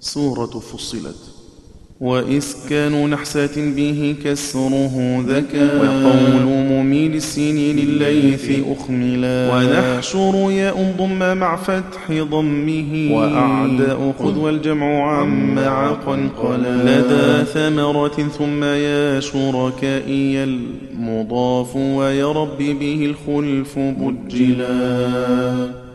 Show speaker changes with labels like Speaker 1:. Speaker 1: سورة فصلت وإسكان نحسة به كسره ذكاء وقول مميل السنين الليث أخملا ونحشر ياء ضم مع فتح ضمه وأعداء خذ والجمع عم عقا قلا لدى ثمرة ثم يا شركائي المضاف ويرب به الخلف بجلا